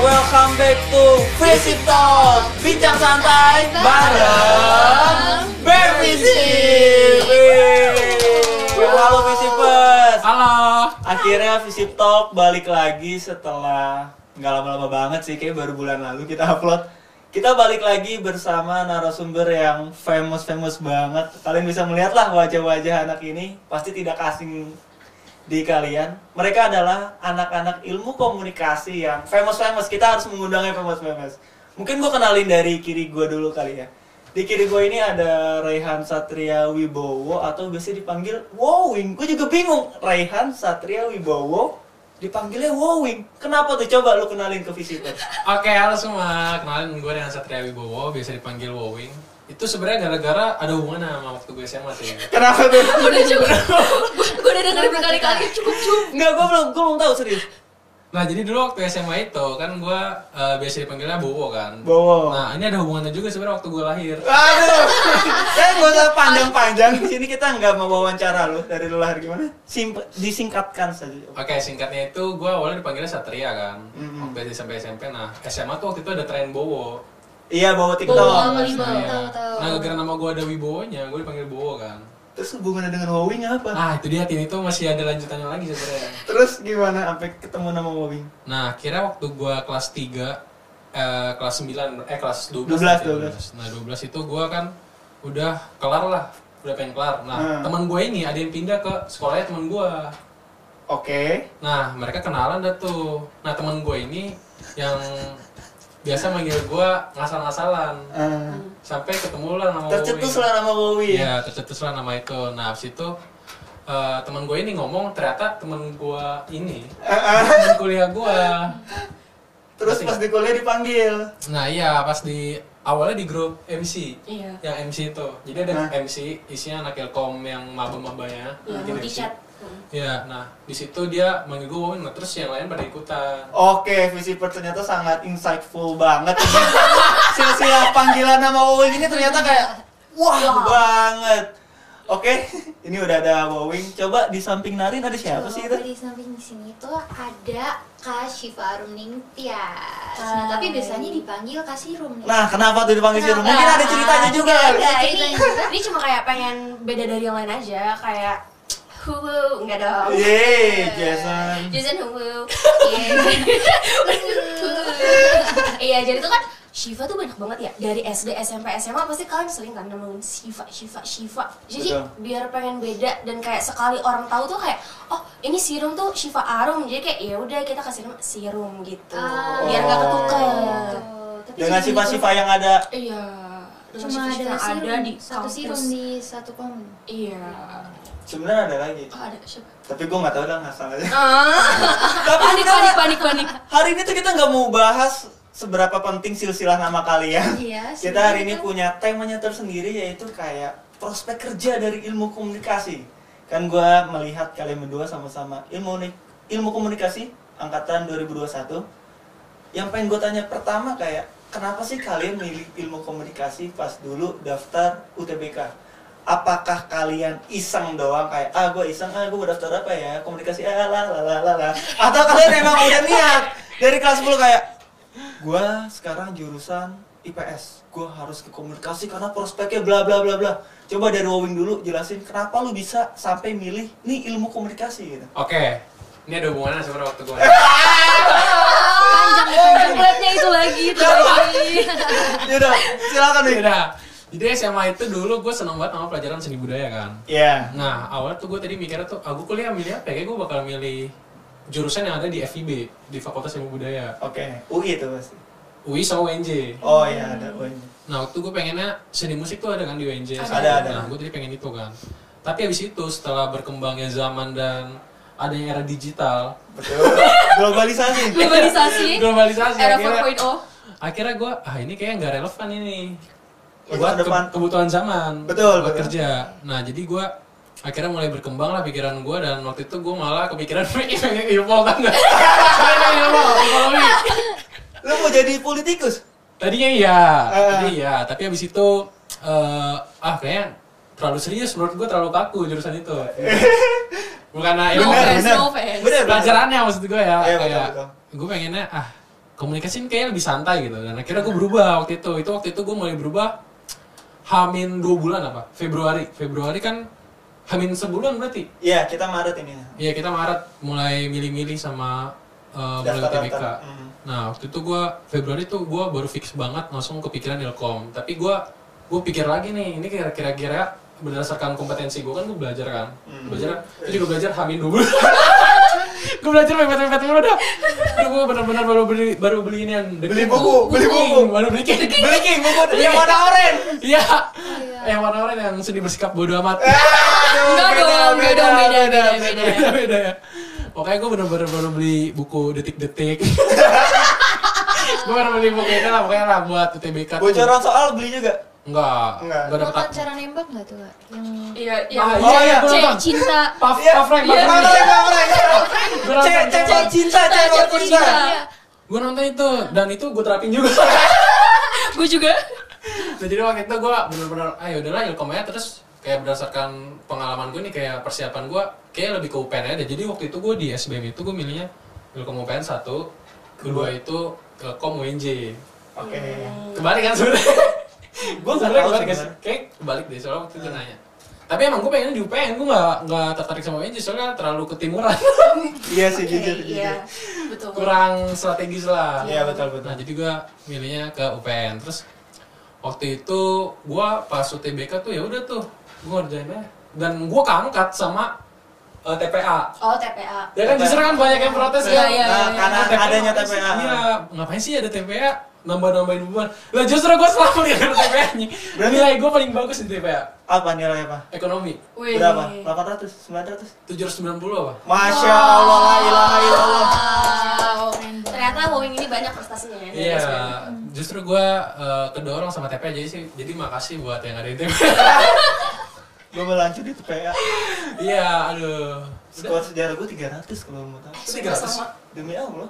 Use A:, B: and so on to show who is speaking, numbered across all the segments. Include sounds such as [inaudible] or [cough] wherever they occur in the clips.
A: Welcome back to Visit Talk Bincang santai bareng Bervisip Wih, Halo Visipers
B: Halo.
A: Akhirnya Visip Talk balik lagi setelah nggak lama-lama banget sih kayak baru bulan lalu kita upload kita balik lagi bersama narasumber yang famous-famous banget. Kalian bisa melihatlah wajah-wajah anak ini pasti tidak asing di kalian. Mereka adalah anak-anak ilmu komunikasi yang famous-famous. Kita harus mengundangnya famous-famous. Mungkin gue kenalin dari kiri gue dulu kali ya. Di kiri gue ini ada Raihan Satria Wibowo atau biasanya dipanggil Wowing. Gue juga bingung. Raihan Satria Wibowo dipanggilnya Wowing. Kenapa tuh? Coba lu kenalin ke visitor.
B: Oke, halo semua. Kenalin gue dengan Satria Wibowo, biasa dipanggil Wowing. Itu sebenarnya gara-gara ada hubungan sama waktu gue SMA sih.
A: [laughs] Kenapa tuh?
C: Gue udah cukup. Gue udah dengerin berkali-kali cukup cukup.
A: Enggak, gue belum, gue belum tahu serius.
B: Nah, jadi dulu waktu SMA itu kan gue eh, biasa dipanggilnya Bowo kan.
A: Bowo.
B: Nah, ini ada hubungannya juga sebenarnya waktu gue lahir.
A: [laughs] Aduh, saya Ya, nggak usah panjang-panjang. Di sini kita nggak mau wawancara lu dari lu lahir gimana? Simp- disingkatkan saja.
B: Oke, singkatnya itu gue awalnya dipanggilnya Satria kan. Waktu SMP SMP. Nah, SMA tuh waktu itu ada tren Bowo.
A: Iya bawa
C: Bawa
A: TikTok.
C: sama Wibowo, tahu, tahu.
B: Nah, gara-gara nama gue ada Wibowonya, gue dipanggil Bowo kan.
A: Terus hubungannya dengan Wowing apa?
B: Ah, itu dia tim itu masih ada lanjutannya lagi sebenarnya.
A: Terus gimana sampai ketemu nama Wowing?
B: Nah, akhirnya waktu gua kelas 3 eh kelas 9 eh kelas 12.
A: 12,
B: 12. Nah, 12 itu gua kan udah kelar lah, udah pengen kelar.
A: Hmm.
B: Nah, teman gua ini ada yang pindah ke sekolahnya teman gua.
A: Oke.
B: Nah, mereka kenalan dah tuh. Nah, teman gua ini yang biasa manggil gua ngasal-ngasalan
A: Eh,
B: sampai ketemu lah nama
A: tercetus
B: Bowie.
A: lah nama Wowing.
B: Hmm. Iya, tercetus lah nama itu. Nah, habis itu eh teman gue ini ngomong ternyata teman gue ini
A: Eh,
B: teman kuliah gue
A: Terus pas di kuliah dipanggil.
B: Nah iya pas di awalnya di grup MC
C: Iya.
B: yang MC itu jadi ada
A: Hah?
B: MC isinya anak ilkom yang maba-mabanya
C: Iya,
B: bikin
C: multi
B: MC.
C: chat.
B: Iya, nah di situ dia manggil gue Wawin, nah, terus yang lain pada ikutan.
A: Oke, Visiper ternyata sangat insightful banget. Silsilah panggilan nama Wowing ini ternyata kayak wah banget. Oke, ini udah ada Wowing. Coba di samping Narin ada siapa sih
D: Kalau
A: itu?
D: Di samping sini tuh ada Kak Syifa Arumning Tias.
C: Hai.
D: Nah,
A: Ah.
D: tapi biasanya dipanggil Kak Sirum nih.
A: Nah, kenapa tuh dipanggil Sirum? Mungkin
C: Kenapa? Iya,
A: ada ceritanya juga. kali.
C: Enggak, ini
D: Ceritanya juga.
C: ini cuma kayak pengen beda dari yang lain aja, kayak huwu, enggak dong.
A: Iya, Yeay, Jason.
C: Jason huwu. Iya. [laughs] Iya, jadi tuh kan Shiva tuh banyak banget ya dari SD, SMP, SMA pasti kalian sering kan nemuin Shiva, Shiva, Shiva. Jadi
A: Betul.
C: biar pengen beda dan kayak sekali orang tahu tuh kayak oh ini serum tuh Shiva Arum jadi kayak ya udah kita kasih nama serum gitu
D: Ah.
C: biar nggak ketukar. Oh.
D: Tuh, tapi
A: Dengan
D: cuma
A: sifat-sifat yang ada
C: Iya.
D: itu- cuma ada
C: Shiva-Shiva
D: sirum,
C: ada di
D: satu sirum
C: kampus.
D: di satu kom.
C: Iya.
A: sebenarnya ada lagi.
C: Oh, ada siapa?
A: Tapi gue nggak tahu lah ngasal aja. Tapi
C: panik, panik,
A: sebenarnya
C: panik, panik.
A: hari ini tuh kita nggak mau bahas seberapa penting silsilah nama kalian.
D: Iya,
A: kita hari ini
D: sebenarnya.
A: punya temanya tersendiri yaitu kayak prospek kerja dari ilmu komunikasi. Kan gua melihat kalian berdua sama-sama ilmu ni- ilmu komunikasi angkatan 2021. Yang pengen gue tanya pertama kayak kenapa sih kalian milih ilmu komunikasi pas dulu daftar UTBK? Apakah kalian iseng doang kayak ah gue iseng ah gue mau daftar apa ya komunikasi ah lah lah lah lah, lah atau kalian emang udah niat dari kelas 10 kayak gua sekarang jurusan IPS gua harus ke komunikasi karena prospeknya bla bla bla bla coba dari Wowing dulu jelasin kenapa lu bisa sampai milih nih ilmu komunikasi gitu
B: Oke, ini ada hubungannya sebenarnya waktu gue.
A: [laughs]
C: Panjang deh, panjang. Template-nya itu lagi, itu lagi.
A: yaudah Iya silakan nih
B: Udah. Iya Jadi SMA itu dulu gue seneng banget sama pelajaran seni budaya kan.
A: ya
B: Nah awalnya tuh gue tadi mikirnya tuh, aku kuliah milih apa? ya? Kayaknya gue bakal milih jurusan yang ada di FIB di Fakultas Ilmu Budaya
A: oke UI itu pasti
B: UI sama UNJ.
A: oh iya ada
C: Hmm.
A: UI
B: Nah waktu gue pengennya seni musik tuh ada kan di UNJ
A: Ada, ada, ada.
B: Nah gue tadi pengen itu kan Tapi abis itu setelah berkembangnya zaman dan adanya era digital
A: betul globalisasi
C: Globalisasi,
B: Globalisasi
C: era oh?
B: akhirnya
A: oh?
C: 4.0
B: Akhirnya gue, ah ini kayaknya nggak relevan ini
A: Untuk
B: Buat ke-
A: depan.
B: kebutuhan zaman
A: Betul,
B: Buat
A: betul.
B: kerja Nah jadi gue akhirnya mulai berkembang lah pikiran gue dan waktu itu gue malah kepikiran pengen ilmu kan nggak pengen ilmu ekonomi
A: lu mau jadi politikus
B: Tadinya iya,
A: Eh.
B: tadi iya, tapi abis itu eh ah kayaknya terlalu serius menurut gue terlalu kaku jurusan
A: [laughs]
B: itu. Bukan nah,
C: No
B: ilmu
C: offense, no offense.
A: bener bener
B: pelajarannya maksud gue ya.
A: Iya, betul,
B: kayak
A: betul.
B: gue pengennya ah komunikasi ini kayaknya lebih santai gitu dan akhirnya gue berubah waktu itu itu waktu itu gue mulai berubah hamin dua bulan apa Februari Februari kan hamin sebulan berarti
A: Iya, kita Maret ini.
B: Iya kita Maret mulai milih-milih sama uh, mulai
A: Daftar-daftar.
B: UTBK.
A: Mm.
B: Nah waktu itu gue Februari tuh gue baru fix banget langsung kepikiran Ilkom. Tapi gue gue pikir lagi nih ini kira- kira-kira berdasarkan kompetensi gue kan gue belajar kan
A: Mm.
B: belajar terus juga belajar hamin dulu [laughs] gue belajar mepet-mepet mulu dah Aduh, gue benar-benar baru beli baru beli ini yang
A: Beli buku, beli buku.
B: baru beli kayak
A: Beli king buku yang warna oren.
B: iya yang warna-warna yang sedih bersikap bodoh amat
A: [laughs] Aduh,
C: Enggak dong, enggak dong, beda, beda, beda.
B: beda beda ya pokoknya gue bener-bener baru beli buku
C: [laughs]
B: detik-detik gue baru beli buku ini lah pokoknya lah buat UTBK tuh.
A: Bocoran soal beli juga.
B: enggak
A: Enggak.
B: enggak dapet
D: Bukan cara nembak nggak tuh Kak? Yang
C: Iya, iya.
B: iya
A: Oh, iya.
B: gua
C: C,
B: nonton.
C: cinta.
B: Puff,
A: Iya,
B: Puff Rank, Puff
A: Iya,
B: Rank.
A: Frank, Frank, Frank.
B: Gua nonton,
A: Cek, cek,
B: gua
A: cinta,
B: nonton.
C: Cinta,
A: cek,
C: cebol
A: cinta.
C: cinta.
B: Gua nonton itu dan itu gue terapin juga [laughs]
C: Gue juga.
B: Nah, jadi waktu itu gue bener-bener ayo udahlah ilkom aja terus kayak berdasarkan pengalaman gue nih kayak persiapan gue kayak lebih ke UPN aja jadi waktu itu gue di SBM itu gue milihnya ilkom UPN satu kedua itu ilkom UNJ
A: Oke.
C: Hmm.
B: kebalik kan
A: [laughs]
B: sebenarnya
A: Gue
B: gue
A: nggak
B: sebenarnya
A: tahu
B: kebalik guys
A: sebenarnya.
B: kayak kebalik deh soalnya waktu itu nanya tapi emang gue pengennya di UPN gue nggak nggak tertarik sama UNJ soalnya terlalu ketimuran [laughs]
A: Iya sih,
C: Oke,
A: jujur, jujur.
C: iya. Betul.
B: kurang strategis lah
A: Iya, betul, betul.
B: nah jadi gue milihnya ke UPN terus waktu itu gue pas UTBK tuh ya udah tuh gue ngerjainnya dan gue keangkat sama eh, TPA
C: Oh, TPA.
B: ya kan justru kan banyak yang protes
C: Iya,
B: kan
C: iya,
A: Nah,
C: iya.
A: karena
B: TPA
A: adanya
B: ngapain sih?
A: TPA.
B: Iya, ngapain sih ada TPA? Nambah-nambahin beban. Lah justru gue [laughs] selalu di TPA-nya.
A: Berarti-
B: Nilai gue paling bagus di TPA.
A: Apa nilai apa?
B: Ekonomi.
C: Wih.
A: Berapa? 800, 900.
B: 790 apa?
A: Masya Allah, la ilaha illallah.
C: Wow.
D: keren banget.
C: Ternyata Boeing ini banyak prestasinya ya.
B: Iya, justru gue kedorong sama TPA jadi sih, jadi makasih buat yang ada di
A: [laughs]
B: TPA.
A: Gue melanjut di TPA.
B: Iya, aduh.
A: Skor sejarah gue 300 kalau mau tahu.
B: Itu 300.
C: Sama.
A: Demi Allah.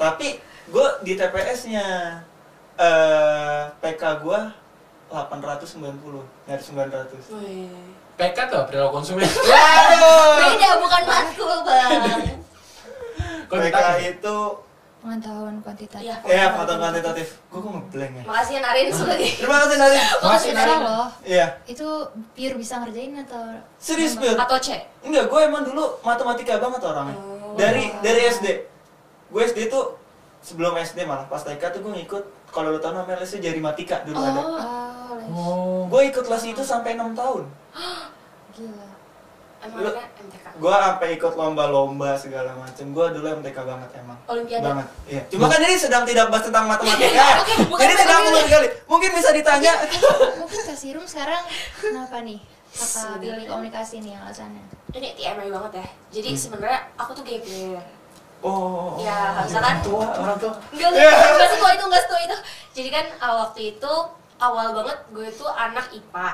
A: Tapi gue di TPS-nya eh PK gue 890 dari 900.
C: Wih.
B: PK tuh perilaku konsumen.
A: Waduh.
C: Beda bukan matkul, Bang.
A: PK
B: Kuantitatif.
A: itu
D: pengetahuan kuantitatif.
C: Iya.
A: ya faktor kuantitatif. Gue kok ngeblank ya.
C: Makasih ya Narin sebagai
A: Terima kasih Nadif.
C: Makasih
D: Bisa
C: Narin.
D: loh.
A: Iya.
D: Itu pure bisa ngerjain atau
A: Serius
D: nembak?
A: Pil?
C: Atau C.
A: Enggak, gue emang dulu matematika banget orangnya.
C: Oh.
A: Dari dari SD. Gue SD tuh sebelum SD malah pas TK tuh gue ngikut kalau lo tau namanya lesnya jari matika dulu ada.
D: Oh, les.
B: Oh.
A: Gue ikut kelas itu sampai 6 tahun.
D: Gila.
A: Lu-
C: Emangnya MTK.
A: Gue sampai ikut lomba-lomba segala macem. Gue dulu MTK banget emang.
C: Olimpiade.
A: Banget. Iya. Cuma kan ini sedang tidak bahas tentang matematika.
C: Iya,
A: ya.
C: Oke, bukan
A: Jadi sedang
C: matematika. Iya.
A: ulang kali. Mungkin bisa ditanya.
D: Mungkin Kak Sirum sekarang kenapa nih? Kakak
C: Sebenarnya.
D: pilih komunikasi nih alasannya.
C: Ini TMI banget ya. Jadi sebenarnya aku tuh gapir.
A: Hmm. Oh.
C: Ya, misalkan
A: Tua, orang tua.
C: Enggak, enggak, enggak, enggak setua itu, enggak setua itu. Jadi kan uh, waktu itu awal banget gue tuh anak IPA.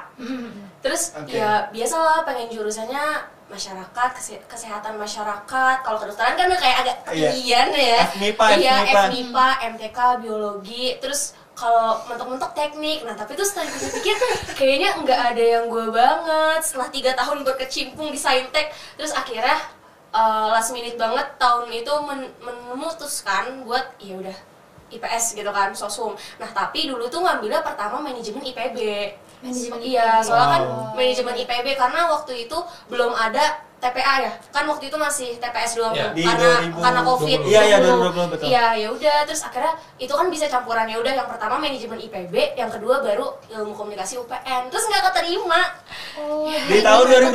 C: Terus
A: Oke.
C: ya biasalah pengen jurusannya masyarakat, kese- kesehatan masyarakat. Kalau kedokteran kan udah kayak agak
A: Iya.
C: ketinggian ya.
A: FMIPA,
C: Iya,
A: FMIPA.
C: FMIPA, MTK, biologi, terus kalau mentok-mentok teknik, nah tapi tuh setelah dipikir-pikir kayaknya nggak ada yang gue banget setelah tiga tahun berkecimpung di saintek, terus akhirnya eh, last minute banget tahun itu men- memutuskan buat ya udah IPS gitu kan sosum, nah tapi dulu tuh ngambilnya pertama manajemen IPB,
D: Manajemen
C: iya
D: IPB.
C: soalnya kan
A: Wow.
C: manajemen IPB karena waktu itu belum ada TPA ya kan waktu itu masih TPS doang
B: Iya.
A: Di
C: karena
A: 2020.
C: karena covid
A: Iya, iya, 2020,
C: 2020.
A: betul.
C: Iya, ya udah terus akhirnya itu kan bisa campuran ya udah yang pertama manajemen IPB yang kedua baru ilmu komunikasi UPN terus nggak keterima [laughs]
D: Oh,
A: Di tahun 2020.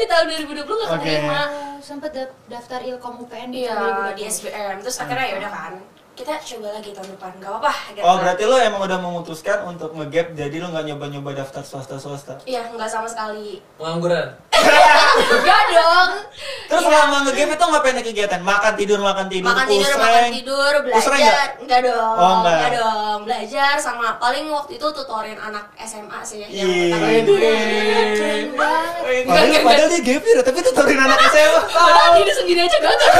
C: di tahun 2020 nggak
A: Oke.
C: keterima
D: sempat eh, daftar Ilkom UPN di
C: iya
D: tahun 2020.
C: di SBM terus akhirnya ya udah kan kita coba lagi tahun depan nggak apa-apa gitu
A: Oh
C: kan.
A: berarti lo emang udah memutuskan untuk ngegap jadi lo nggak nyoba-nyoba daftar swasta-swasta.
C: iya nggak sama sekali [laughs]
B: Pengangguran.
C: enggak dong
A: Terus
C: Iya.
A: selama ngegap itu ngapain ada kegiatan? Makan tidur makan tidur
C: makan tidur makan
A: pusreng.
C: tidur
A: Pusreng nggak?
C: belajar enggak dong
A: Oh, enggak.
C: dong belajar sama paling waktu itu tutorin anak SMA sih yang
A: Ih.
B: Keren
D: banget.
C: Enggak,
A: Padahal,
C: enggak,
A: padahal dia gapir tapi tutorin anak SMA.
C: Padahal diri sendiri aja gagal.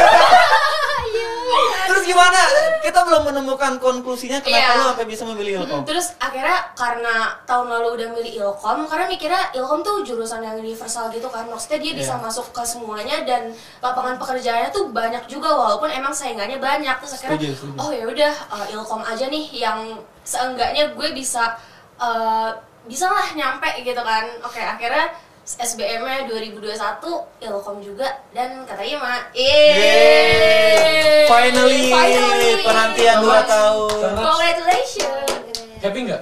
A: Terus gimana? Kita belum menemukan konklusinya kenapa
C: Iya.
A: lu sampai bisa memilih
C: Mm-mm.
A: ilkom.
C: Terus akhirnya karena tahun lalu udah milih Ilkom karena mikirnya Ilkom tuh jurusan yang universal gitu kan maksudnya dia bisa
B: Iya.
C: masuk ke semuanya dan lapangan pekerjaannya tuh banyak juga walaupun emang saingannya banyak terus akhirnya
A: Setuju, setuju.
C: oh ya udah uh, Ilkom aja nih yang seenggaknya gue bisa uh, bisa lah nyampe gitu kan oke akhirnya SBM-nya 2021 Ilkom juga dan kata Ima
A: Yeay.
C: yeay
A: Finally, penantian 2
C: Congratulations.
A: tahun.
C: Congratulations
B: Happy nggak?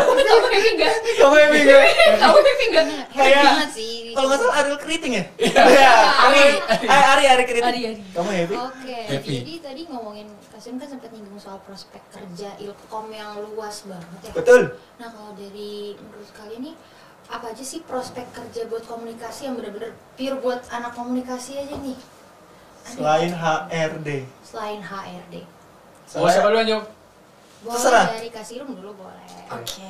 C: kamu happy nggak?
A: Kamu happy nggak?
C: Kamu happy nggak?
D: Happy
A: Kayak-
D: banget sih.
A: Iya. Kalau nggak salah Ariel Keriting ya? Iya. Ari, eh, Ari, Ari Keriting.
C: Ari, Ari.
A: Kamu happy?
D: Oke,
B: Happy.
D: jadi tadi ngomongin Kasim kan sempat nyinggung soal prospek kerja ilkom yang luas banget ya.
A: Betul.
D: Nah kalau dari menurut kalian nih apa aja sih prospek kerja buat komunikasi yang bener-bener pure buat anak komunikasi aja nih? Ada
A: Selain
D: nggak?
A: HRD.
D: Selain HRD.
B: Mau Oh, siapa dulu yang jawab?
D: Boleh
A: Terserah.
D: dari Kasirum dulu boleh.
C: Oke.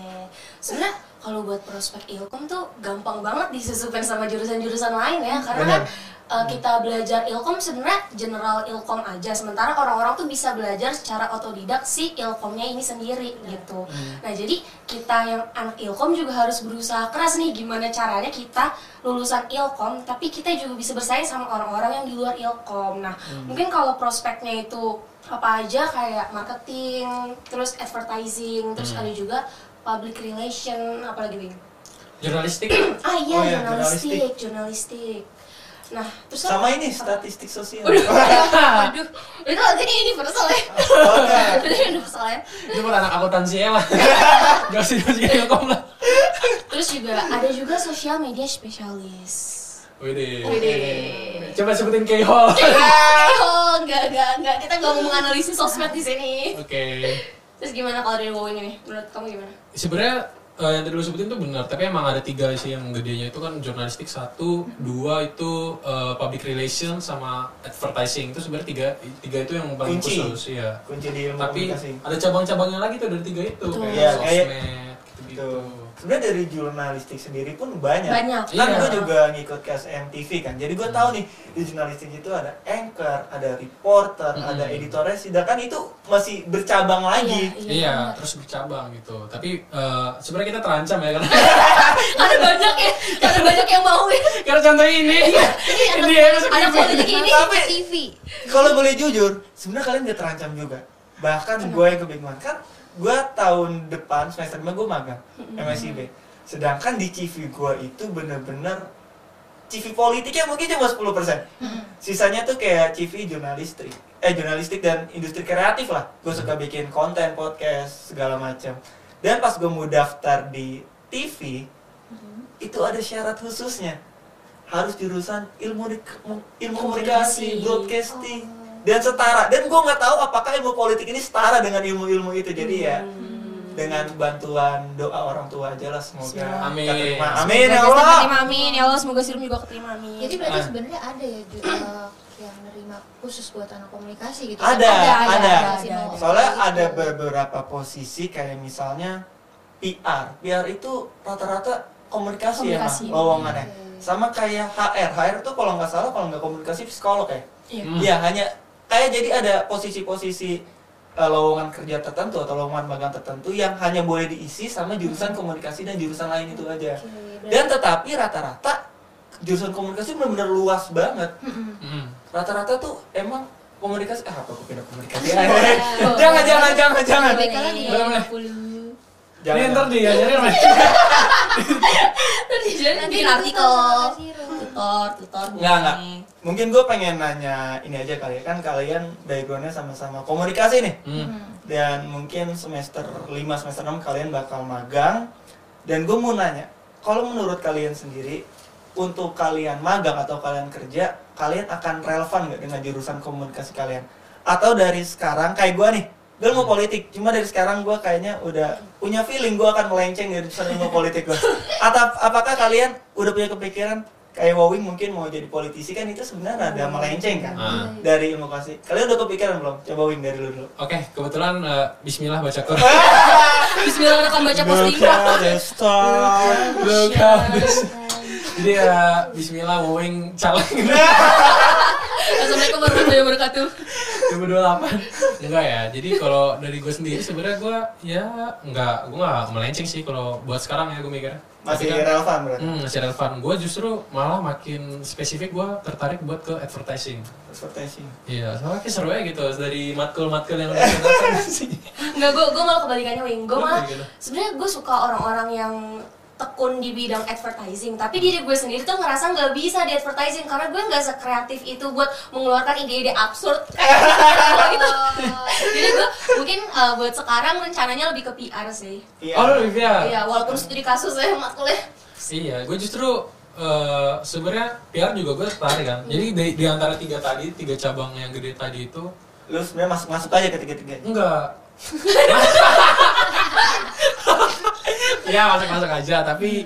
C: Sebenarnya kalau buat prospek ilkom tuh gampang banget disusupin sama jurusan-jurusan lain ya karena kan
A: Benar.
C: eh, kita belajar ilkom sebenarnya general ilkom aja sementara orang-orang tuh bisa belajar secara otodidak si ilkomnya ini sendiri gitu. Nah, jadi kita yang anak ilkom juga harus berusaha keras nih gimana caranya kita lulusan ilkom tapi kita juga bisa bersaing sama orang-orang yang di luar ilkom. Nah, mungkin kalau prospeknya itu apa aja kayak marketing, terus advertising, terus
B: Hmm.
C: ada juga public relation apalagi Wing?
A: [laughs]
B: Jurnalistik.
C: ah iya
A: Oh iya,
C: jurnalistik jurnalistik nah terus
A: Sama ini statistik sosial.
C: Waduh, [laughs] waduh, itu jadi universal ya,
A: Oke.
C: jadi universal ya.
B: Itu buat anak akuntansinya [laughs] lah. Gak usah juga ilkom lah.
C: Terus juga ada juga social media spesialis.
B: Widih.
C: Widih.
B: Coba sebutin K-Hall.
C: Oh, enggak, enggak, enggak. Kita nggak mau menganalisis sosmed di sini.
B: Oke.
C: Terus gimana kalau dari Wowing ini? Menurut kamu gimana? [laughs]
B: sebenarnya eh, yang tadi lu sebutin tuh benar tapi emang ada tiga sih yang gedenya itu kan jurnalistik satu dua itu eh, public relation sama advertising itu sebenarnya tiga tiga itu yang paling
A: Kunci.
B: khusus ya
A: Kunci di ilmu
B: tapi
A: komunikasi.
B: ada cabang-cabangnya lagi tuh dari tiga itu
C: Betul.
A: Iya, kayak-
B: sosmed gitu,
A: Tuh. Sebenarnya dari jurnalistik sendiri pun banyak.
C: Banyak.
A: Kan
B: Iya.
A: gue juga ngikut ke SMTV kan. Jadi gue tahu nih di jurnalistik itu ada anchor, ada reporter,
B: Mm-mm.
A: ada editornya. Sedangkan itu masih bercabang lagi.
C: Iya,
B: Iya,
C: iya.
B: terus bercabang gitu. Tapi eh, sebenarnya kita terancam ya karena [laughs]
C: Ada banyak ya, ada banyak yang mau ya.
B: karena contoh ini.
C: Ini anak,
B: Ini harus
C: anak
B: ini.
C: politik ini.
A: Tapi
D: TV.
A: kalau boleh jujur, sebenarnya kalian udah terancam juga. Bahkan gue yang kebingungan kan gue tahun depan semester depan gue magang MSIB. Sedangkan di CV gue itu bener-bener CV politiknya mungkin cuma 10%. Sisanya tuh kayak CV jurnalistik. Eh jurnalistik dan industri kreatif lah. Gue suka bikin konten, podcast, segala macam. Dan pas gue mau daftar di TV, itu ada syarat khususnya. Harus jurusan ilmu di- ilmu komunikasi,
C: Komunikasi. Oh.
A: broadcasting dan setara. Dan gue nggak tahu apakah ilmu politik ini setara dengan ilmu-ilmu itu. Jadi ya
C: Hmm.
A: dengan bantuan doa orang tua aja lah semoga
C: Bismillah.
B: Amin.
A: keterima. Amin ya
C: Semoga
A: Allah.
C: Kristen keterima, amin. Ya Allah, semoga Sirum juga keterima, amin.
D: Jadi berarti
A: Ah.
D: sebenarnya ada ya ju- eh, yang nerima khusus buat anak komunikasi gitu. kan?
A: Ada, ada.
D: sih, mau
C: ada.
A: Soalnya
D: gitu.
A: ada beberapa posisi kayak misalnya PR. PR itu rata-rata komunikasi, ya, Mak,
C: Komunikasi. Hmm.
A: lowongannya.
D: Oke.
A: Sama kayak HR. HR tuh kalau nggak salah kalau nggak komunikasi psikolog ya.
C: Iya.
B: Hmm.
A: Iya, hanya kayak jadi ada posisi-posisi eh, lowongan kerja tertentu atau lowongan magang tertentu yang hanya boleh diisi sama
B: Hmm.
A: jurusan komunikasi dan jurusan lain itu aja.
D: Oke, berarti-
A: Dan tetapi rata-rata jurusan komunikasi benar-benar luas banget
D: Mm-mm.
B: Mm.
A: rata-rata tuh emang komunikasi ah apa gue pindah
B: [laughs] Iya,
A: komunikasi
D: Boleh.
A: jangan jangan jangan jangan
D: Lebih kalah di
B: Boleh, boleh.
D: 50.
A: jangan
B: Ini ntar diajarin sama
C: Terus jadi nanti bikin
D: Nanti
C: artikel.
D: tuh Kasiru.
C: Tutor, tutor.
A: nggak nggak mungkin gue pengen nanya ini aja kali ya kan kalian backgroundnya sama-sama komunikasi nih
B: Hmm.
D: Hmm.
A: dan mungkin semester 5 semester 6 kalian bakal magang dan gue mau nanya kalau menurut kalian sendiri untuk kalian magang atau kalian kerja kalian akan relevan nggak dengan jurusan komunikasi kalian atau dari sekarang kayak gue nih gue mau politik cuma dari sekarang gue kayaknya udah punya feeling gue akan melenceng dari jurusan ilmu politik gue atau apakah kalian udah punya kepikiran kayak Wawing mungkin mau jadi politisi kan itu sebenarnya ada melenceng kan
B: Ah.
A: dari ilmu kasih kalian udah kepikiran belum coba Wing dari lu dulu
B: Oke, kebetulan eh, Bismillah baca Quran.
C: Bismillahirrahmanirrahim baca pos
A: Look
C: lima.
A: at the stars.
B: Look how this- Jadi ya Bismillah Wowing caleg.
C: Assalamualaikum warahmatullahi wabarakatuh.
E: 2028
B: Enggak ya, jadi kalau dari gue sendiri sebenarnya gue ya enggak, gue enggak melenceng sih kalau buat sekarang ya gue mikirnya.
A: Masih
B: Tapi kan,
A: relevan berarti.
B: Hmm, masih relevan. Gue justru malah makin spesifik gue tertarik buat ke advertising.
A: Advertising.
B: Iya, soalnya kayak seru ya gitu dari matkul-matkul yang [laughs] udah datang sih.
C: Nggak, gue gue malah kebalikannya wing gue
B: Lu
C: malah
B: kebalikannya?
C: sebenarnya gue suka orang-orang yang tekun di bidang advertising tapi diri gue sendiri tuh ngerasa nggak bisa di advertising karena gue nggak sekreatif itu buat mengeluarkan ide-ide absurd kayak gitu jadi gue mungkin eh, buat sekarang rencananya lebih ke PR sih
A: Iya.
B: Oh, lu Livia?
C: Iya, walaupun studi kasus ya matkulnya
B: Iya, gue justru eh, sebenarnya PR juga gue tertarik kan. Jadi di, di antara tiga tadi, tiga cabang yang gede tadi itu
A: Lu sebenarnya masuk masuk aja ketiga-tiganya.
B: enggak. ya masuk-masuk aja, tapi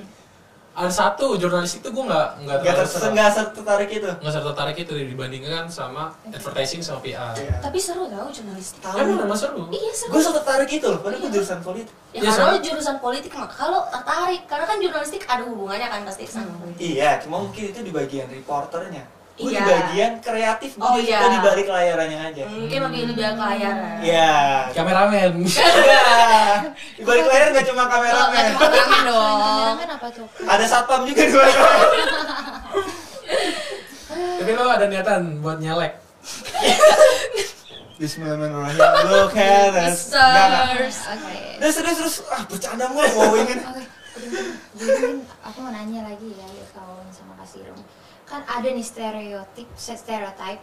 B: ada satu jurnalis itu gue nggak nggak
A: Gak
B: terlalu Hmm.
A: tertarik,
B: serta-
A: gak tertarik itu.
B: nggak serta tarik itu dibandingkan sama advertising sama PR.
A: Iya.
C: tapi seru tau jurnalistik
A: Tahu.
B: Kan emang seru.
C: iya seru
A: Gue serta tertarik itu loh, padahal gue jurusan politik.
C: ya,
B: Iya,
C: karena
B: soalnya-
C: lu jurusan politik maka kalau tertarik karena kan jurnalistik ada hubungannya kan pasti sama politik
A: Iya, cuma mungkin itu di bagian reporternya. Gue di
C: Iya.
A: bagian kreatif, gue
C: Oh,
A: di,
C: iya.
A: gua
C: Hmm.
A: di balik layarannya aja.
C: mungkin lebih lebih ke ya. layaran
A: Iya.
B: Kameramen. [laughs]
A: Iya. di balik layar gak cuma
C: Oh,
A: kameramen.
C: Kangen dong.
D: Kenangan apa tuh?
A: Ada satpam juga di balik layar.
B: tapi lo ada niatan buat nyalek?
A: Bismillahirrahmanirrahim. Look at us.
C: Sisters.
A: Nggak, nggak.
D: Oke.
A: Terus terus terus ah bercanda mulu mau ingin.
D: Oke, udah, udah. Jadi aku mau nanya lagi ya, ya kawan sama Kak Sirum. Kan ada nih stereotip, stereotype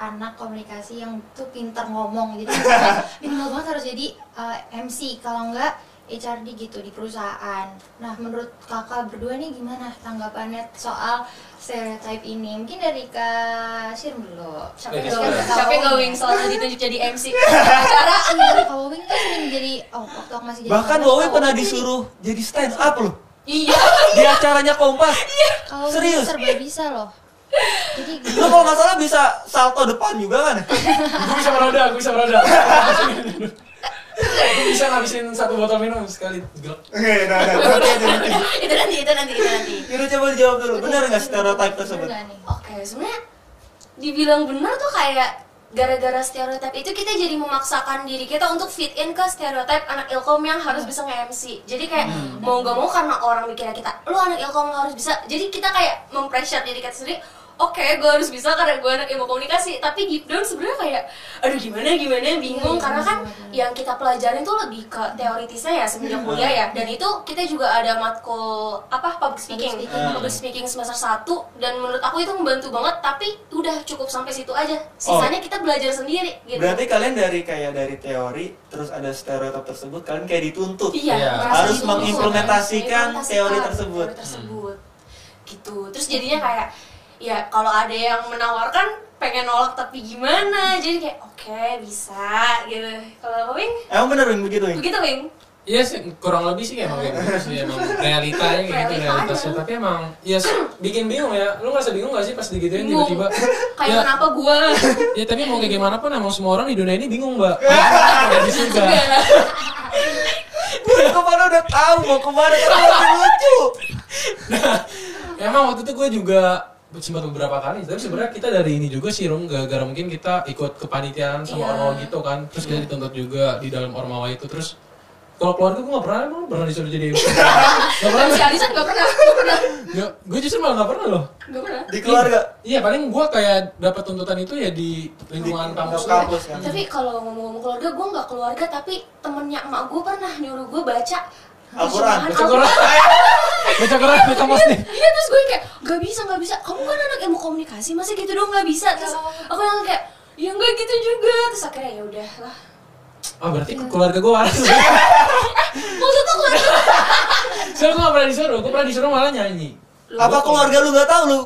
D: anak komunikasi yang tuh pintar ngomong
A: [laughs]
D: jadi minimal banget harus jadi uh, MC kalau enggak HRD gitu di perusahaan. Nah, menurut kakak berdua nih gimana tanggapannya soal stereotype ini? Mungkin dari Kak Sirum dulu.
C: Siapa yang
B: Lagi
C: gak-
B: sekarang.
C: siapa yang gak wing selalu ditunjuk jadi MC? Acara
D: Iya, Kalau Wing tuh sering jadi oh waktu aku masih jadi
A: Bahkan
D: saudara,
A: Wowi
D: Kak
A: pernah
D: Wing tuh
A: disuruh jadi stand up loh
C: Iya [laughs]
A: di acaranya Kompas.
D: Kalau
A: Serius?
D: Serius? serba bisa loh. Jadi
A: Lo kalau nggak salah bisa salto depan juga kan?
B: gue bisa meroda, gue bisa meroda. gue bisa ngabisin satu botol minum sekali. Gila.
A: Oke, nah, nah, oke, oke, oke.
C: Itu nanti, itu nanti, itu nanti
A: Yaudah coba dijawab dulu. Benar nggak stereotip tersebut?
D: Iya,
C: Oke, sebenarnya dibilang benar tuh kayak gara-gara stereotip itu kita jadi memaksakan diri kita untuk fit in ke stereotip anak ilkom yang harus bisa nge-MC jadi kayak
D: Hmm.
C: mau nggak mau karena orang mikirnya kita lu anak ilkom harus bisa jadi kita kayak mempressure diri kita sendiri oke gue harus bisa karena gue anak ilmu komunikasi tapi deep down sebenarnya kayak aduh gimana gimana bingung
D: Iya, Hmm.
C: karena kan
D: bener-bener.
C: yang kita pelajarin tuh lebih ke teoritisnya ya semenjak kuliah ya dan itu kita juga ada matkul apa public speaking
D: Public
A: speaking.
C: public speaking semester 1 dan menurut aku itu membantu banget tapi udah cukup sampai situ aja sisanya kita belajar sendiri gitu
A: Oh. Berarti kalian dari kayak dari teori terus ada stereotip tersebut kalian kayak dituntut.
C: iya
B: Iya,
C: merasa
A: harus
C: dituntut,
A: mengimplementasikan
C: mengimplementasikan
A: teori tersebut.
C: teori tersebut. gitu terus jadinya kayak ya kalau ada yang menawarkan pengen nolak tapi gimana jadi kayak oke bisa gitu kalau Wing
A: Emang bener Wing begitu Wing?
C: begitu Wing
B: Iya sih, kurang lebih sih emang kayak gitu sih emang realitanya kayak gitu
C: Realitanya.
B: realitasnya. Tapi emang ya sih, bikin bingung ya. Lu ngerasa bingung gak sih pas digituin
C: Bingung.
B: tiba-tiba?
C: kayak
B: Ya.
C: kenapa gua
B: Ya tapi mau kayak gimana pun emang semua orang di dunia ini
C: [laughs]
B: bingung mbak. Gak bisa juga.
A: Kok pada udah tahu mau kemana kan masih lucu.
B: Emang waktu itu gue juga sempat beberapa kali tapi sebenarnya kita dari ini juga sih Rum gara-gara mungkin kita ikut kepanitiaan sama
C: Iya.
B: ormawa gitu kan terus kita dituntut juga di dalam ormawa itu terus kalau keluarga gue gak pernah emang lu pernah disuruh jadi [laughs] gak pernah
C: dan si Alisa nggak pernah nggak pernah
B: Ya, gue justru malah gak pernah loh
C: nggak pernah
A: Di keluarga.
B: iya paling gue kayak dapat tuntutan itu ya di lingkungan
A: Di-
B: kampus
A: kampus.
B: gue
A: kan.
C: tapi kalau ngomong-ngomong keluarga gue nggak keluarga tapi temennya emak gue pernah nyuruh gue baca
A: Al-Quran.
B: baca [laughs] koran baca koran baca pos nih
C: iya terus gue kayak nggak bisa nggak bisa kamu kan anak ilmu komunikasi masa gitu dong nggak bisa terus aku yang kayak ya nggak gitu juga terus akhirnya ya udah lah
B: oh berarti keluarga gue waras [laughs]
C: maksud tuh keluarga
B: soalnya gue gak pernah disuruh gue pernah disuruh malah nyanyi
A: Apa keluarga lu nggak tahu lu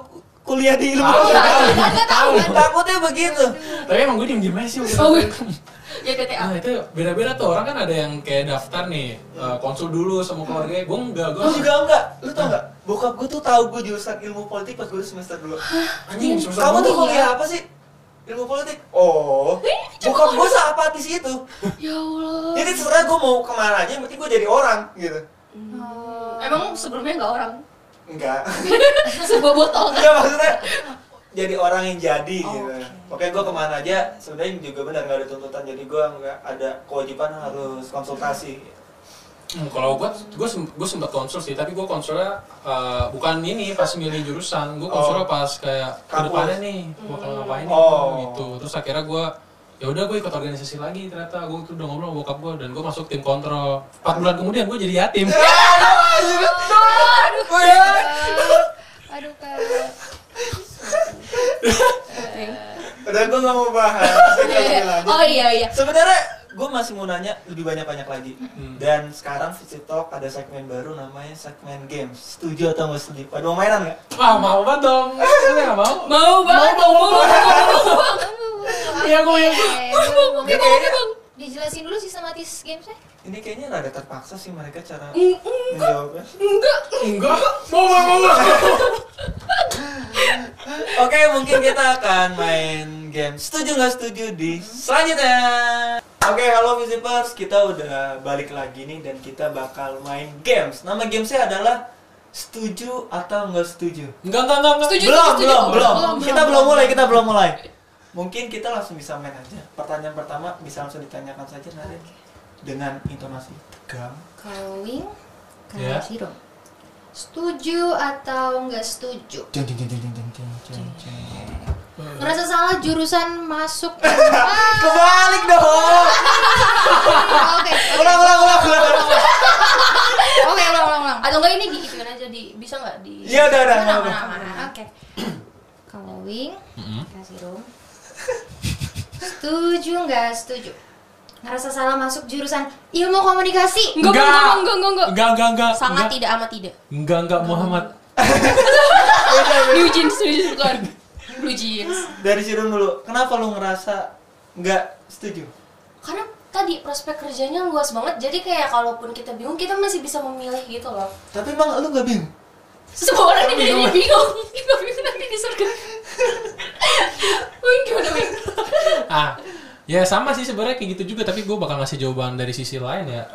A: kuliah di ilmu?
B: tahu tahu
A: Takutnya begitu.
B: tapi emang gue diem diem aja sih waktu
C: Oh,
B: itu.
C: ya TTA
B: Nah itu beda-beda tuh orang kan ada yang kayak daftar nih eh, konsul dulu sama keluarganya. Gue enggak, gue
A: Lu juga Oh, enggak? Lu tau enggak? Bokap gue tuh tahu gue jurusan ilmu politik pas gue semester dulu.
B: anjing susah
A: Kamu tuh
B: banget.
A: kuliah apa sih? Ilmu politik. ya? Oh. Bokap gue seapatis itu. Oh.
C: ya allah
A: Jadi terserah gue mau kemana aja, yang penting gue jadi orang gitu.
D: Oh.
C: emang sebelumnya nggak orang
A: Enggak. [laughs]
C: sebuah botol kan
A: Enggak maksudnya jadi orang yang jadi gitu. Oke, gue kemana aja sebenarnya juga benar nggak ada tuntutan, jadi gue nggak ada kewajiban harus konsultasi.
B: Hmm, kalau gue, gue gue sempat konsul sih, tapi gue konsulnya eh, bukan ini pas milih jurusan, gue
A: Oh.
B: konsulnya pas kayak
A: Kampus.
B: kedepannya nih, gue bakal ngapain nih,
A: Oh.
B: gitu. Terus akhirnya gue ya udah gue ikut organisasi lagi ternyata gue tuh udah ngobrol sama bokap gue dan gue masuk tim kontrol 4 bulan kemudian gue jadi yatim
D: Aduh kak.
A: Udah gue nggak mau bahas. Kita langsung lanjut.
C: oh iya iya
A: Sebenarnya gue masih mau nanya lebih banyak-banyak lagi.
B: Hmm.
A: Dan sekarang Visit Talk ada segmen baru namanya segmen games. Setuju atau nggak setuju? Pada mau mainan nggak?
B: wah mau banget dong Saya nggak mau
C: mau banget mau mau mau
B: Iya, gua yang-
D: Aduh.
A: Ini kayaknya,
D: Dijelasin dulu sistematis gamesnya.
A: ini kayaknya rada terpaksa sih mereka cara
C: Mm,
A: menjawabnya.
C: enggak
B: enggak mau mau mau, mau
A: Oke, mungkin kita akan main game setuju nggak setuju di selanjutnya. Oke, halo Visipers, kita udah balik lagi nih dan kita bakal main games. Nama gamesnya adalah setuju atau nggak setuju.
B: enggak enggak enggak enggak.
C: Setuju,
A: belum,
C: setuju.
A: belum,
C: Oh,
A: belum,
C: belum,
A: Kita
C: belum,
A: belum
C: belum.
A: mulai, kita belum mulai. Mungkin kita langsung bisa main aja. Pertanyaan pertama bisa langsung ditanyakan saja Narin. Dengan intonasi tegang.
D: Kawing.
A: Ya.
B: Iya.
D: Kak Siro. Setuju atau nggak setuju?
A: Jeng jeng jeng jeng jeng jeng jeng jeng.
D: Ngerasa salah jurusan masuk. Ah,
A: Kebalik dong.
D: [laughs] Oke.
A: Ulang, ulang, ulang, ulang.
D: Oke, ulang ulang ulang.
C: atau enggak ini digituin aja di bisa nggak di
A: Iya, udah, udah. udah,
D: Mana mana
A: udah.
D: mana. Ah, Oke. Kawing. Kasih room. Setuju nggak setuju? Ngerasa salah masuk jurusan ilmu komunikasi.
C: Enggak, enggak, enggak, enggak, enggak.
B: enggak enggak enggak
C: sangat
B: enggak.
C: tidak amat tidak
B: enggak enggak Muhammad
C: blue jeans blue jeans bukan blue jeans
A: Dari Sirun dulu. Kenapa lu ngerasa nggak setuju?
C: karena tadi prospek kerjanya luas banget jadi kayak kalaupun kita bingung kita masih bisa memilih gitu loh
A: Tapi emang lu nggak bingung?
C: semua orang ini jadi bingung kita bingung nanti di surga Wing gimana Wing?
B: ah ya sama sih sebenarnya kayak gitu juga tapi gue bakal ngasih jawaban dari sisi lain ya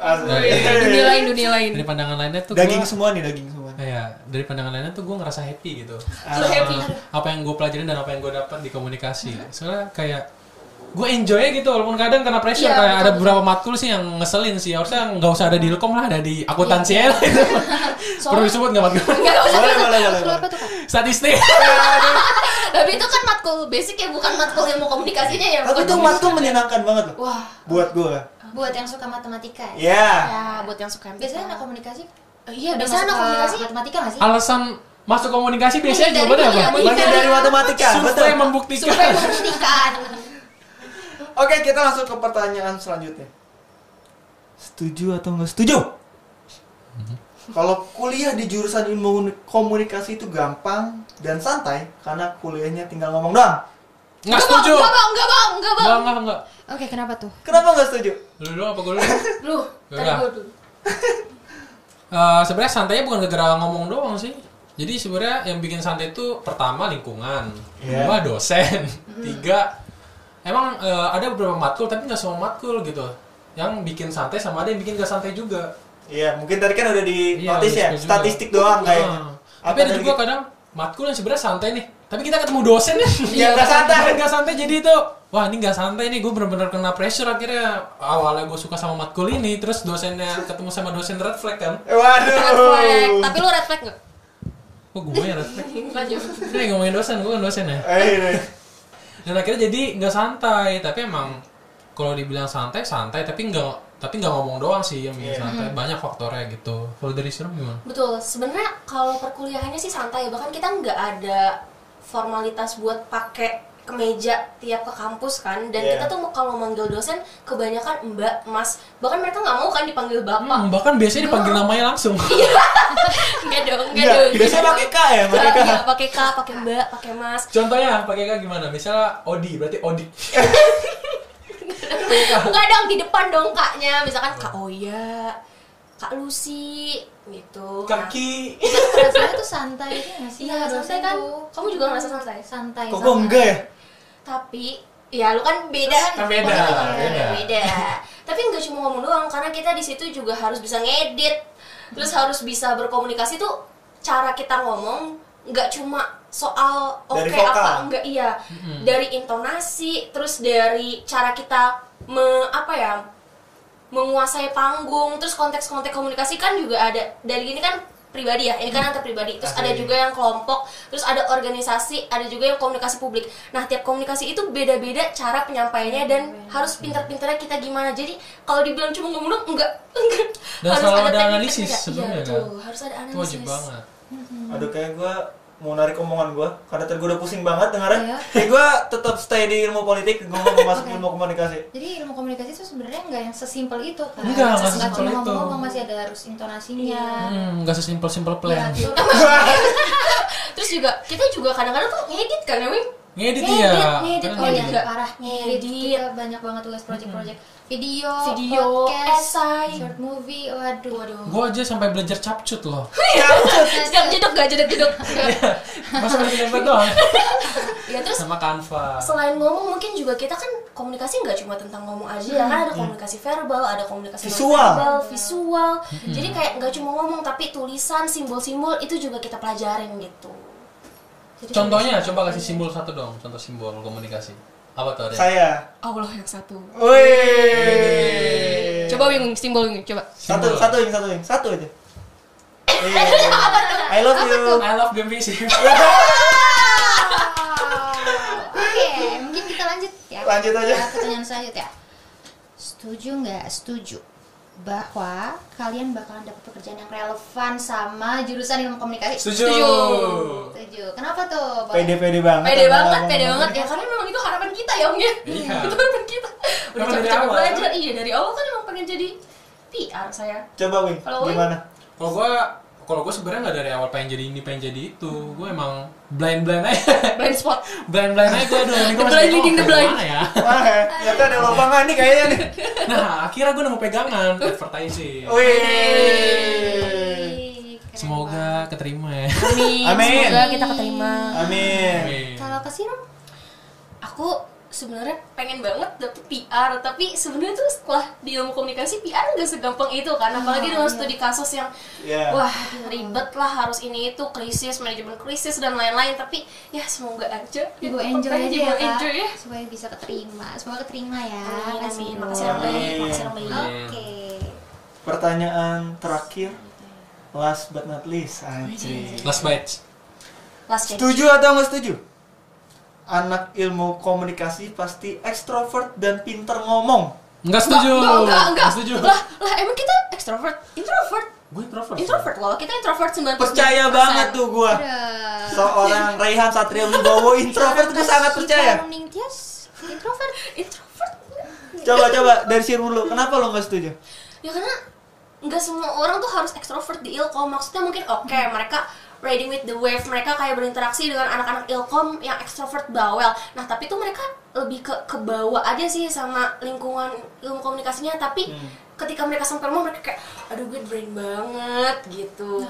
C: dunia lain dunia Ah, lain
B: dari pandangan lainnya tuh
A: Daging
B: gua-
A: semua nih, daging semua.
B: Iya, dari pandangan lainnya tuh gue ngerasa happy gitu.
C: Lu happy?
B: Sama Apa yang gue pelajarin dan apa yang gue dapat di komunikasi. Soalnya kayak gue enjoy gitu walaupun kadang kena pressure
C: Iya,
B: kayak
C: betul,
B: ada
C: betul.
B: beberapa matkul sih yang ngeselin sih harusnya nggak usah ada di ilkom lah ada di akuntansi
C: Iya, [laughs]
B: aja lah itu perlu disebut nggak matkul
C: Enggak, enggak usah.
A: Boleh, boleh, boleh.
D: Lu
A: boleh.
D: apa tuh, Kak?
B: statistik
C: Tapi itu kan matkul basic ya, bukan matkul ilmu komunikasinya ya.
A: Tapi
C: bukan
A: tuh
C: ilmu-
A: matkul menyenangkan banget loh.
C: Wah,
A: Buat gua.
D: Buat yang suka matematika ya.
A: Ya.
C: ya buat yang suka MTK.
D: Biasanya anak komunikasi
C: Eh, iya,
D: udah
C: biasanya anak
D: masuk ke
C: komunikasi.
D: matematika gak sih?
B: alasan masuk komunikasi biasanya
C: Menghindari
B: jawabannya apa?
C: matematika.
A: Bagian dari matematika,
B: Oh, iya. Survei
A: betul.
B: membuktikan.
D: Matematika.
A: Oke, kita langsung ke pertanyaan selanjutnya. Setuju atau nggak setuju? Mm-hmm. Kalau kuliah di jurusan ilmu komunikasi itu gampang dan santai karena kuliahnya tinggal ngomong doang.
B: Nggak setuju.
C: Enggak, Bang, enggak, Bang, enggak, Bang.
B: Enggak, enggak, enggak.
D: Oke, kenapa tuh?
A: Kenapa nggak setuju?
B: Lu dulu apa gue dulu?
C: Lu,
B: Enggak.
C: tadi gua dulu.
B: Eh, sebenarnya santainya bukan gara-gara ngomong doang sih. Jadi sebenarnya yang bikin santai itu pertama lingkungan,
A: Iya.
B: dua dosen, [laughs] tiga emang eh, ada beberapa matkul tapi nggak semua matkul gitu. Yang bikin santai sama ada yang bikin gak santai juga.
A: Iya, mungkin tadi kan udah di
B: Iya,
A: notice ya,
B: udah setuju juga.
A: statistik doang kayaknya.
B: Ah.
A: Apa
B: Tapi ada juga kadang matkul yang sebenarnya santai nih. Tapi kita ketemu dosen ya.
A: [laughs] Iya, nggak santai.
B: Gak santai jadi itu. Wah ini gak santai nih. Gue bener-bener kena pressure akhirnya. Awalnya gue suka sama matkul ini. Terus dosennya ketemu sama dosen red flag kan.
A: Eh, Waduh.
C: Red flag. Tapi lu red flag enggak?
B: Kok gue yang red flag?
C: Lanjut.
B: Ini ngomongin dosen, gue kan dosen ya.
A: Eh, ini.
B: dan akhirnya jadi nggak santai tapi emang kalau dibilang santai santai tapi nggak tapi nggak ngomong doang sih yang bikin
A: Iya.
B: santai banyak faktornya gitu kalau dari serem gimana
C: Betul. Sebenarnya kalau perkuliahannya sih santai, bahkan kita nggak ada formalitas buat pakai kemeja tiap ke kampus kan dan
A: Iya.
C: kita tuh kalau manggil dosen kebanyakan mbak mas bahkan mereka nggak mau kan dipanggil bapak
B: Hmm, bahkan biasanya dipanggil namanya langsung
C: enggak dong enggak
A: Enggak,
C: dong
A: Iya, biasanya pakai K ya, pakai K.
C: Enggak, pakai K, pakai Mbak, pakai Mas.
B: contohnya pakai kak gimana misalnya Odi berarti Odi
C: Enggak dong di depan dong kaknya, misalkan Kak Oya, Kak Lucy gitu.
B: kaki
D: Rasanya tuh santai gitu nggak sih?
C: Iya, santai kan? Kamu juga ngerasa santai?
D: Santai.
A: Kok gua enggak ya?
C: Nah, tapi ya lu kan beda.
B: Kan beda,
C: Maksudnya,
B: beda.
C: beda. tapi nggak cuma ngomong doang karena kita di situ juga harus bisa ngedit. Terus harus bisa berkomunikasi tuh cara kita ngomong nggak cuma soal oke
A: Dari vokal.
C: apa enggak iya
B: Mm-mm.
C: dari intonasi terus dari cara kita me, apa ya menguasai panggung terus konteks-konteks komunikasi kan juga ada dari ini kan pribadi ya ini kan antar pribadi terus ada
B: Hmm. Asli.
C: juga yang kelompok terus ada organisasi ada juga yang komunikasi publik nah tiap komunikasi itu beda-beda cara penyampaiannya dan harus pintar-pintarnya kita gimana jadi kalau dibilang cuma ngomong enggak [laughs] enggak
B: Dan selalu ada
C: teknik-teknik.
B: analisis
C: Iya,
B: sebelumnya, kan?
C: betul. harus ada
B: itu
C: analisis
B: wajib banget
A: Aduh kayak gue mau narik omongan gue karena tadi gue udah pusing banget dengarnya.
D: Iya.
A: Kayak gue tetap stay di ilmu politik, gue
C: [laughs]
A: mau masuk
D: Oke.
A: ilmu komunikasi.
D: Jadi ilmu komunikasi itu sebenarnya nggak yang sesimpel itu kan.
B: Nggak, nggak
D: Nggak
B: sesimpel
D: cuma
B: itu.
D: ngomong-ngomong masih ada harus intonasinya.
B: hmm, nggak sesimpel simpel plan
D: Ah. Iya,
C: terus juga kita juga kadang-kadang tuh ngedit kan ya Wing
B: ngedit ya
D: ngedit, ngedit.
B: Kan
D: Oh iya,
B: ngedit.
C: Juga.
D: parah ngedit. Kita banyak banget tugas project-project video,
C: Video,
D: Oh, podcast, Iya.
C: esai.
D: short movie. Waduh,
C: [laughs]
D: waduh.
B: gue aja sampai belajar capcut loh
C: jedok jedok gak jedok jedok
B: masa main gambar doang
C: ya terus
B: sama Canva
C: selain ngomong mungkin juga kita kan komunikasi nggak cuma tentang ngomong aja ya kan ada komunikasi verbal ada komunikasi
A: Visual.
C: verbal visual jadi kayak nggak cuma ngomong tapi tulisan simbol-simbol itu juga kita pelajarin gitu Jadi-
B: contohnya coba kasih simbol satu dong contoh simbol komunikasi apa tuh ada
A: Saya.
C: Allah yang satu
A: Wih.
C: coba wing simbol wing coba
A: Satu,
B: Simbol.
A: satu, yang satu, yang satu aja.
C: [laughs]
A: Iya. I love you.
B: I love Gembisi
D: Oke, mungkin kita lanjut ya.
A: [laughs] Lanjut aja.
D: Ke pertanyaan selanjutnya. Setuju nggak? Setuju bahwa kalian bakalan dapat pekerjaan yang relevan sama jurusan ilmu komunikasi.
B: setuju
C: Setuju.
D: Setuju. Kenapa tuh? Boleh.
A: Pede-pede banget.
C: pede
A: sama
C: banget
A: ngomong.
C: pede banget ya karena memang itu harapan kita ya Wing ya
B: Iya.
C: [laughs] itu harapan kita udah
B: Emang dari
C: capek-capek
B: awal.
C: belajar iya dari awal kan emang pengen jadi PR saya
A: Coba Wing,
C: Kalau Wing? [laughs]
A: gimana?
B: [laughs] kalau gue kalau gue sebenarnya nggak dari awal pengen jadi ini pengen jadi itu gue emang blind blind aja [laughs]
C: blind spot
B: blind blind aja gue aduh ini
C: The
B: gue
C: blind
B: bingung,
C: leading the
B: mau
C: blind.
B: kemana ya
A: Wah, ya kan ada lapangan nih kayaknya nih.
B: nah akhirnya gue nemu pegangan advertising
A: Oh, iya. Wih.
D: Keren
B: semoga keterima ya
C: Amin.
A: Amin.
C: Semoga kita keterima.
A: Amin.
D: banget. Kalau apa sih, Rom?
C: Aku sebenarnya pengen banget dapet PR, tapi sebenarnya tuh setelah di ilmu komunikasi PR nggak segampang itu kan,
D: Ah,
C: apalagi dengan
D: iya.
C: studi kasus yang
A: Ya.
C: wah ribet lah harus ini itu krisis manajemen krisis dan lain-lain. Tapi ya semoga aja.
D: Ibu
C: ya,
D: enjoy
C: tetep
D: aja
C: Ibu
D: ya, Kak.
C: enjoy ya.
D: Supaya bisa keterima. Semoga keterima ya.
C: Amin, amin.
D: Bu.
C: Makasih Rang Bayi, makasih Rang Bayi.
B: Amin.
D: Oke.
A: Pertanyaan terakhir. Last but not least, anjir.
B: last bites
C: Last day.
A: Setuju atau nggak setuju? Anak ilmu komunikasi pasti ekstrovert dan pinter ngomong.
B: Enggak setuju.
C: Enggak, enggak, enggak.
B: setuju.
C: Lah, lah emang kita extrovert, introvert,
B: Gue introvert.
C: introvert loh. Kita introvert 90%.
A: Percaya banget tuh gua.
C: Iya.
B: Ah.
D: Udah.
A: Seorang Raihan Satria Wibowo introvert gue sangat percaya.
D: Kita Running Tias, introvert.
C: Introvert.
A: Coba coba dari sir dulu. Kenapa lo nggak setuju?
C: ya karena nggak semua orang tuh harus ekstrovert di ilkom maksudnya mungkin oke mereka riding with the wave mereka kayak berinteraksi dengan anak-anak ilkom yang ekstrovert bawel nah tapi tuh mereka lebih ke ke bawah aja sih sama lingkungan ilmu komunikasinya tapi ketika mereka sampai rumah mereka kayak aduh gue brain banget gitu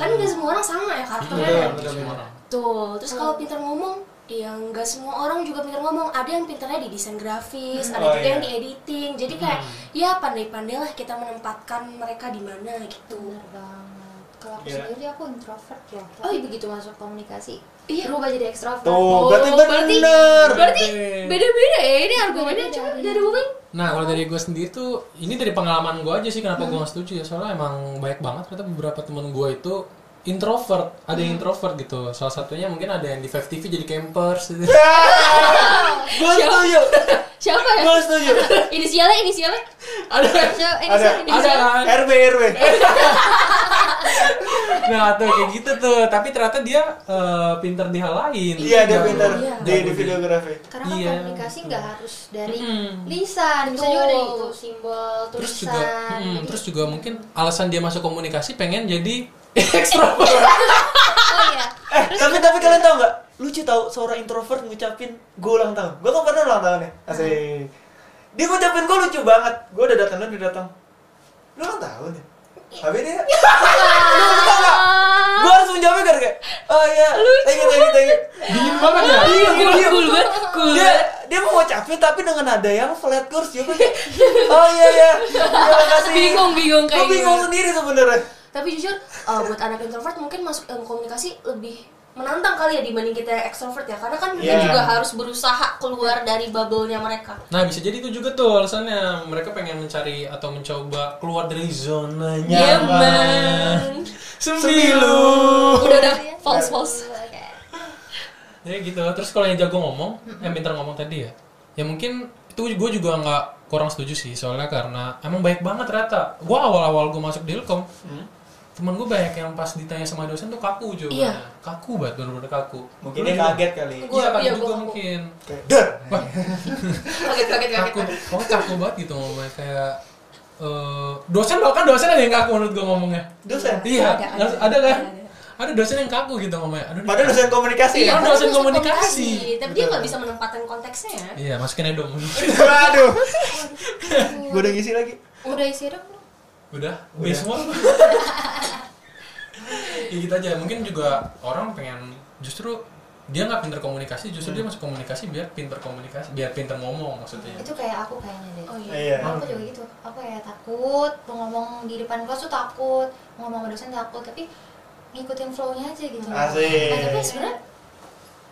C: kan nggak semua orang sama ya karakternya
A: Betul,
B: Betul, semua orang.
C: Tuh, terus kalau pintar ngomong, ya nggak semua orang juga pintar ngomong. Ada yang pintarnya di desain grafis,
A: Oh,
C: ada juga
A: iya.
C: yang di editing. Jadi kayak ya pandai-pandailah kita menempatkan mereka di mana gitu.
D: Bener banget. Kalau aku
A: Iya.
D: sendiri aku introvert ya. loh. Tapi
C: Oh, iya.
D: begitu masuk komunikasi,
C: Iya.
D: berubah
B: Eh,
D: jadi ekstrovert.
A: Tuh,
C: Oh,
A: berarti
C: berarti- iya.
A: bener.
C: Berarti beda-beda ya ini argumennya
D: argumennya.
C: coba
D: Coba
C: dari
D: dari
C: Wing.
B: Nah, kalau dari gue sendiri tuh ini dari pengalaman gue aja sih kenapa gue gak setuju ya. Soalnya emang banyak banget ternyata beberapa temen gue itu introvert,
A: Hmm.
B: ada yang introvert gitu. Salah satunya mungkin ada yang di Five TV jadi campers gitu.
A: Iya. Gue setuju.
C: Siapa ya?
A: Gue setuju.
C: [laughs] inisialnya, inisialnya.
B: ada
D: So, Eh, ini
A: Ada.
D: sih, ini
B: [laughs] ada
D: sih.
B: kan?
C: Iya.
A: RB RW.
B: Nah, tuh kayak gitu tuh. Tapi ternyata dia eh, pinter di hal lain. Gitu.
A: Iya ada
B: Jago-
A: pinter
C: Iya.
A: di,
B: jago
A: di videografi.
D: Karena kan
B: Iya,
D: komunikasi
B: betul.
D: nggak harus dari
B: Mm-mm.
D: lisan, bisa
C: Betul.
D: juga dari itu simbol,
B: terus
D: tulisan.
B: juga hmm,
D: Jadi-
B: terus juga mungkin alasan dia masuk komunikasi pengen jadi [laughs] ekstrovert
D: Oh iya.
A: Eh tapi tapi kalian tau nggak? Lucu tau seorang introvert ngucapin gue ulang tahun. Gue kan pernah ulang tahun ya. Asik. Dia ngucapin gue lucu banget. Gue udah datang dia datang. Lu ulang tahun ya? Tapi dia Lu tau nggak? Gue harus menjawabnya gara kayak Oh iya Thank you thank you thank you
B: dingin banget ya
A: Iya gue diem
C: Cool banget, [laughs] cool.
A: dia dia mau ngucapin tapi dengan nada yang flat course dia kayak oh iya iya terima kasih
C: Bingung, bingung
A: gue
C: kayak
A: bingung
C: gitu.
A: sendiri sebenarnya
C: Tapi jujur, eh, buat anak introvert mungkin masuk ilmu komunikasi lebih menantang kali ya dibanding kita yang ekstrovert ya karena kan kita
A: Iya.
C: juga harus berusaha keluar dari bubble-nya mereka
B: Nah bisa jadi itu juga tuh alasannya mereka pengen mencari atau mencoba keluar dari zonanya.
A: Iya,
C: Iya, man.
B: Sembilu.
C: udah udah false false
B: Jadi gitu. Terus kalau yang jago ngomong, yang pintar ngomong tadi ya, ya mungkin itu gue juga nggak kurang setuju sih soalnya karena emang baik banget ternyata. Gue awal-awal gue masuk di Ilkom, temen gue banyak yang pas ditanya sama dosen tuh kaku juga.
C: Iya.
B: Kaku banget, bener-bener kaku.
A: Mungkin
B: Lu
A: dia
B: juga-
A: kaget kali.
C: Gua-
B: Iya, kaku
C: iya, gua
B: juga
C: kaku.
B: mungkin.
A: Kayak, "Der!"
B: Wah,
C: [laughs] kaget kaget
B: kaku,
C: kaget
B: pokoknya kaku banget gitu ngomongnya kayak eh, dosen bahkan dosen ada yang kaku menurut gue ngomongnya.
A: Dosen.
B: Iya,
D: Ada,
B: ada,
D: ada.
B: kan? Ada dosen yang kaku gitu ngomongnya. Aduh,
A: Padahal dosen komunikasi ya.
B: Iya.
C: padahal
B: dosen
C: dia
B: komunikasi.
C: tapi dia nggak bisa menempatkan konteksnya ya
B: Iya, masukin aja dong.
A: Waduh. Gue udah ngisi lagi.
D: Udah isi dong lu.
A: Udah.
B: Udah, udah semua. ya gitu aja. Mungkin juga orang pengen justru dia nggak pinter komunikasi, justru dia masuk komunikasi biar pinter komunikasi, biar pinter ngomong maksudnya.
D: Itu kayak aku kayaknya deh.
C: oh iya
A: Iya.
D: Aku juga gitu. Aku kayak takut mau ngomong di depan kelas tuh takut, mau ngomong sama dosen takut, tapi ngikutin flow-nya aja gitu.
A: Asik.
D: Nah, tapi sebenarnya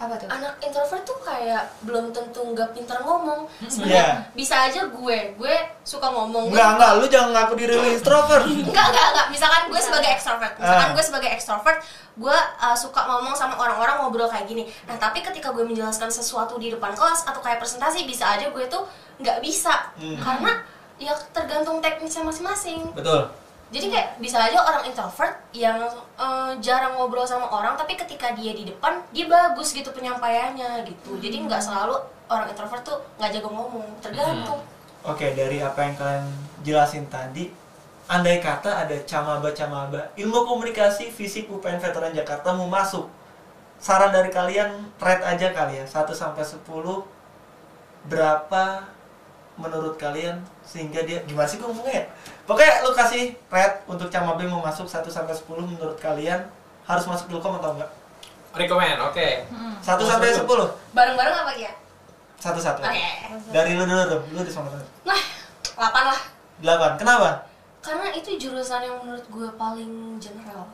D: apa tuh?
C: anak introvert tuh kayak belum tentu nggak pintar ngomong sebenarnya bisa aja gue gue suka ngomong
A: Enggak, enggak, lu jangan ngaku diri lu introvert.
C: Enggak, enggak, enggak. Misalkan gue sebagai extrovert, misalkan
A: Ah.
C: gue sebagai extrovert, gue uh, suka ngomong sama orang-orang ngobrol kayak gini. Nah, tapi ketika gue menjelaskan sesuatu di depan kelas atau kayak presentasi, bisa aja gue tuh nggak bisa
A: Hmm.
C: karena ya tergantung teknisnya masing-masing.
A: Betul.
C: Jadi kayak bisa aja orang introvert yang uh, jarang ngobrol sama orang, tapi ketika dia di depan dia bagus gitu penyampaiannya gitu. Jadi nggak selalu orang introvert tuh nggak jago ngomong, tergantung.
A: Oke, dari apa yang kalian jelasin tadi, andai kata ada camaba-camaba, ilmu komunikasi fisik UPN Veteran Jakarta mau masuk. Saran dari kalian, rate aja kali ya, 1 sampai 10 berapa menurut kalian sehingga dia gimana sih gue ngomongnya ya? Pokoknya lu kasih rate untuk camaba yang mau masuk 1 sampai 10 menurut kalian harus masuk Ilkom atau enggak?
B: Recommend,
A: 1
B: oke.
A: sampai 10.
C: Bareng-bareng apa ya?
A: Satu-satu.
C: Oke.
A: Dari lu dulu, Rum. Lu di sama dulu.
C: Nah, 8 lah.
A: 8. Kenapa?
C: karena itu jurusan yang menurut gue paling general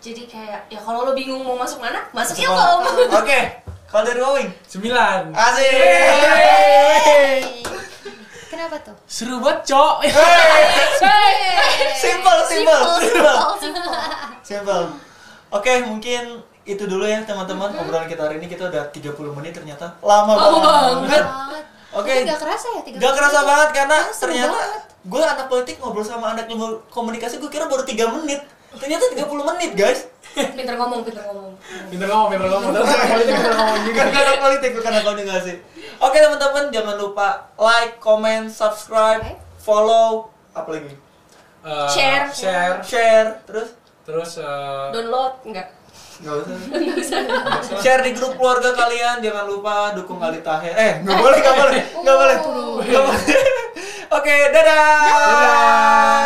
C: jadi kayak ya kalau lo bingung mau masuk mana masuk
D: Iya,
C: ya
A: Oke. Kalau dari Wawing?
B: Sembilan.
A: Asik.
D: Kenapa tuh?
B: Seru banget, cok.
A: Simple, simple, simple.
C: simple
A: Simple. Oke, mungkin itu dulu ya teman-teman
D: Mm-hmm.
A: obrolan kita hari ini kita udah 30 menit ternyata lama
C: Lama
A: banget.
D: Banget.
A: Oke.
D: Tapi Gak kerasa ya? tiga
A: Gak
D: menit
A: kerasa
D: itu? Iya,
A: banget karena
D: seru
A: ternyata
D: banget.
A: gue anak politik ngobrol sama anak ilmu komunikasi gue kira baru 3 menit. Ternyata 30 menit, guys.
C: [laughs] pinter ngomong pinter ngomong
B: Pinter ngomong, pinter ngomong. Pinter ngomong juga.
A: Bukan anak politik, bukan anak komunikasi. Oke, teman-teman, jangan lupa like, comment, subscribe, follow, apa lagi?
B: Eh,
C: Share.
B: share.
A: Share, terus
B: Terus eh,
C: download enggak
A: Nggak usah. [laughs] Share di grup keluarga kalian, jangan lupa dukung Ali Tahir. Eh, nggak [laughs] boleh, nggak boleh, nggak boleh. Nggak boleh. Oke, dadah. Dadah.